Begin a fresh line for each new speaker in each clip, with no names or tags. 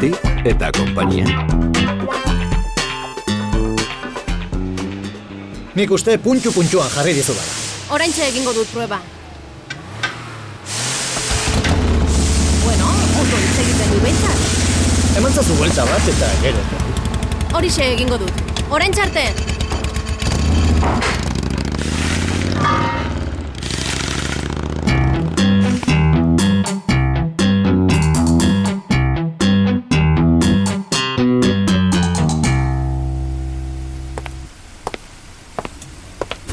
Eta compañía.
Nik uste puntxu-puntxuan jarri dizudala.
Oraintxe egingo dut prueba. Bueno, ondo hitz egiten du behintzat.
Eman zazu buelta bat eta gero.
Horixe egingo dut. Orain txarte.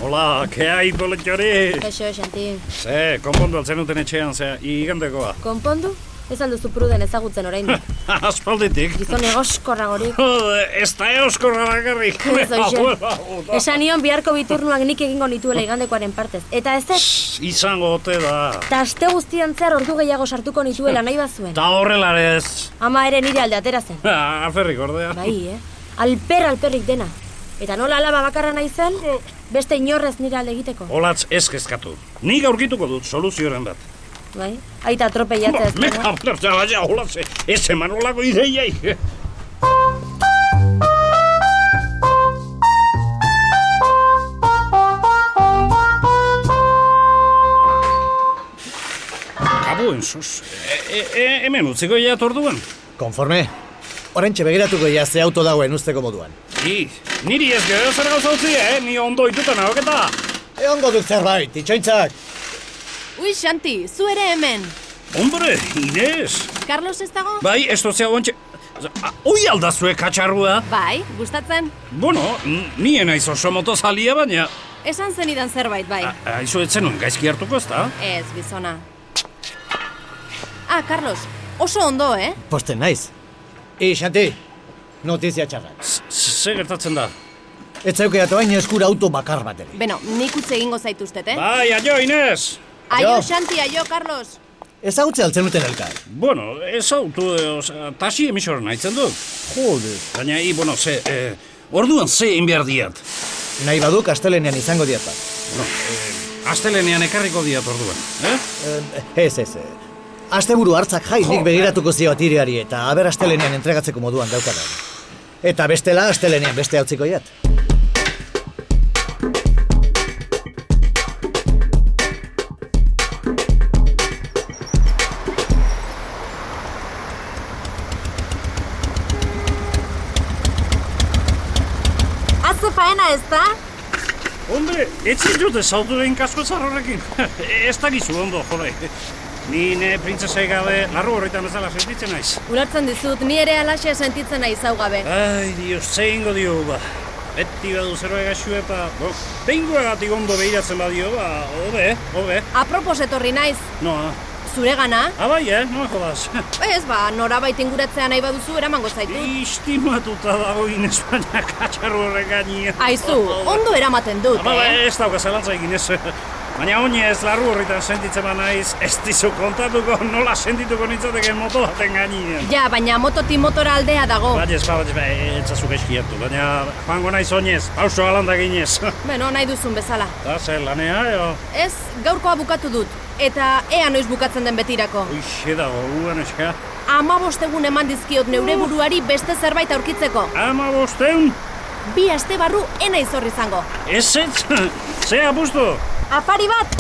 Hola, ke hai, boletxori?
Kaixo, Xanti.
Ze, konpondu altzen duten etxean, ze, igandekoa.
Konpondu? Ez alduzu pruden ezagutzen orain.
Aspalditik.
Gizon egoskorra gorik.
Jode, ez da euskorra bakarrik.
Ez
Abuela,
hoxe.
abuela.
Esan nion biharko biturnuak nik egingo nituela igandekoaren partez. Eta ez ez,
Izango ote da.
eta aste guztian zehar ordu gehiago sartuko nituela nahi bazuen.
Ta horrela ez.
Ama ere nire alde atera zen.
Ha, Aferrik ordea.
Bai, eh? Alper alperrik dena. Eta nola alaba bakarra nahi zen,
Mm.
beste inorrez nire alde egiteko.
Olatz ez kezkatu. Nik aurkituko dut soluzioren bat.
Bai? Aita atropeiatzea ez
Meka,
dena.
blertza, baina, olatz, ez eman olako ideiai. Kabuen, sus. E, e, hemen utziko jat orduan.
Konforme, orentxe begiratuko ia ze auto dagoen usteko moduan.
I, niri ez gero zer gauza utzi, eh? Ni ondo ituta nahok eta.
Egongo dut zerbait, itxointzak.
Ui, Xanti, zu ere hemen.
Hombre, Inez.
Carlos ez dago?
Bai, ez dozea ontxe... Oi aldazue katxarrua.
Bai, gustatzen.
Bueno, n- ni naiz oso motozalia, baina...
Esan zenidan zerbait, bai.
a- Ah, Aizu etzen gaizki hartuko ez da?
Ez, gizona. Ah, Carlos, oso ondo, eh?
Posten naiz. I, Xanti, notizia txarrak.
Z- Ze gertatzen da?
Ez zeukeatu hain eskura auto bakar bat ere.
Beno, nik utze egingo zaituztet, eh?
Bai, aio, Inez!
Aio,
Jo.
Xanti, aio, Carlos.
Ezagutze altzen duten elkar.
Bueno, ez autu, e, oza, tasi emisor nahitzen du.
Jode.
Baina, i, bueno, ze, e, orduan ze egin behar diat.
Nahi baduk astelenean izango diat bat.
Bueno, e, astelenean ekarriko diat orduan, eh?
Eh, ez, ez, eh. Asteburu hartzak jai nik begiratuko zio atiriari eta aber astelenean entregatzeko moduan daukada. Eta bestela astelenean beste hautziko jat.
Azze faena ez da?
Hombre, etzi dut ez autu egin kasko zarrorekin. ez da gizu ondo, jode. Ni ne printzesei gabe larru horretan bezala sentitzen naiz.
Ulertzen dizut, ni ere alaxe sentitzen naiz hau gabe.
Ai, dios, ze ingo dio, ba. Beti badu zerroa gaxu eta, bo, tengoagatik ondo behiratzen badio, ba, hobe, hobe.
Apropos etorri naiz,
No,
zuregana?
Ah, bai, eh? No jodas.
Ez, ba, norabait inguratzea nahi baduzu eramango zaitut.
Istimatuta dago Ines, baina katxarro horrek Oh, gainean.
Aizu, ondo eramaten dut,
Ama,
eh?
ba, ez dauka zelantza egin ez. Baina honi ez larru horretan sentitzen banaiz, ez dizu kontatuko nola sentituko nintzateken moto baten gainean.
Ja, baina mototi motora aldea dago.
Baina ez, baina ez, baina ba, ez zazu gaizki hartu, baina joango naiz oinez, pauso alanda ginez.
Beno, nahi duzun bezala.
Da, zer lanea, jo.
Ez, gaurkoa bukatu dut. Eta ea noiz bukatzen den betirako.
Uixe dago, uan eska.
Ama bostegun eman dizkiot neure buruari beste zerbait aurkitzeko.
Ama bosteun,
Bi aste barru ena izor izango.
ez ez, ze apustu.
Apari bat!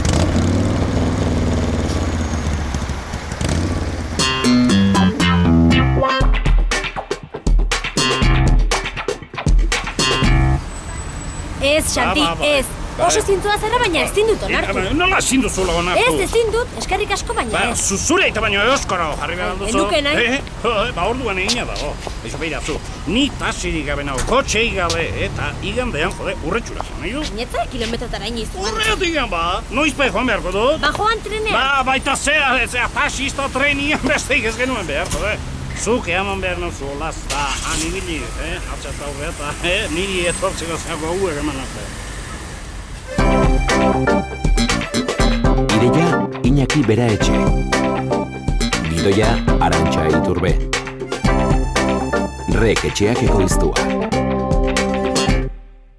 Ez, Xanti,
Ba, ba, ba.
ez. Oso zintzoa zara baina ezin dut onartu.
Eh, Nola ezin duzula onartu?
Ez, ezin dut, eskerrik asko baina
Ba,
ez.
zuzure eta baino euskara jarri behar
Ai,
duzu.
enuke nahi.
Eh, eh, ba, orduan egina dago. Eixo beira zu, ni tasirik gabe nau, kotxeik gabe, eta igandean, jode, urretxura zen, nahi du?
Nietza kilometretara iniz.
Urreotik gan, ba, noizpe joan beharko dut?
Ba, joan trenean.
Ba, baita zea, zea, tasista trenian besteik ez genuen behar, jode. Zuk eaman behar nauzu, olaz, da, anibili, eh, atxata horre eta, eh, niri etortzeko zeago hauek eman arte.
Ideia Iñaki Bera Etxe. Gidoia Arantxa Iturbe. Rek etxeak ekoiztua.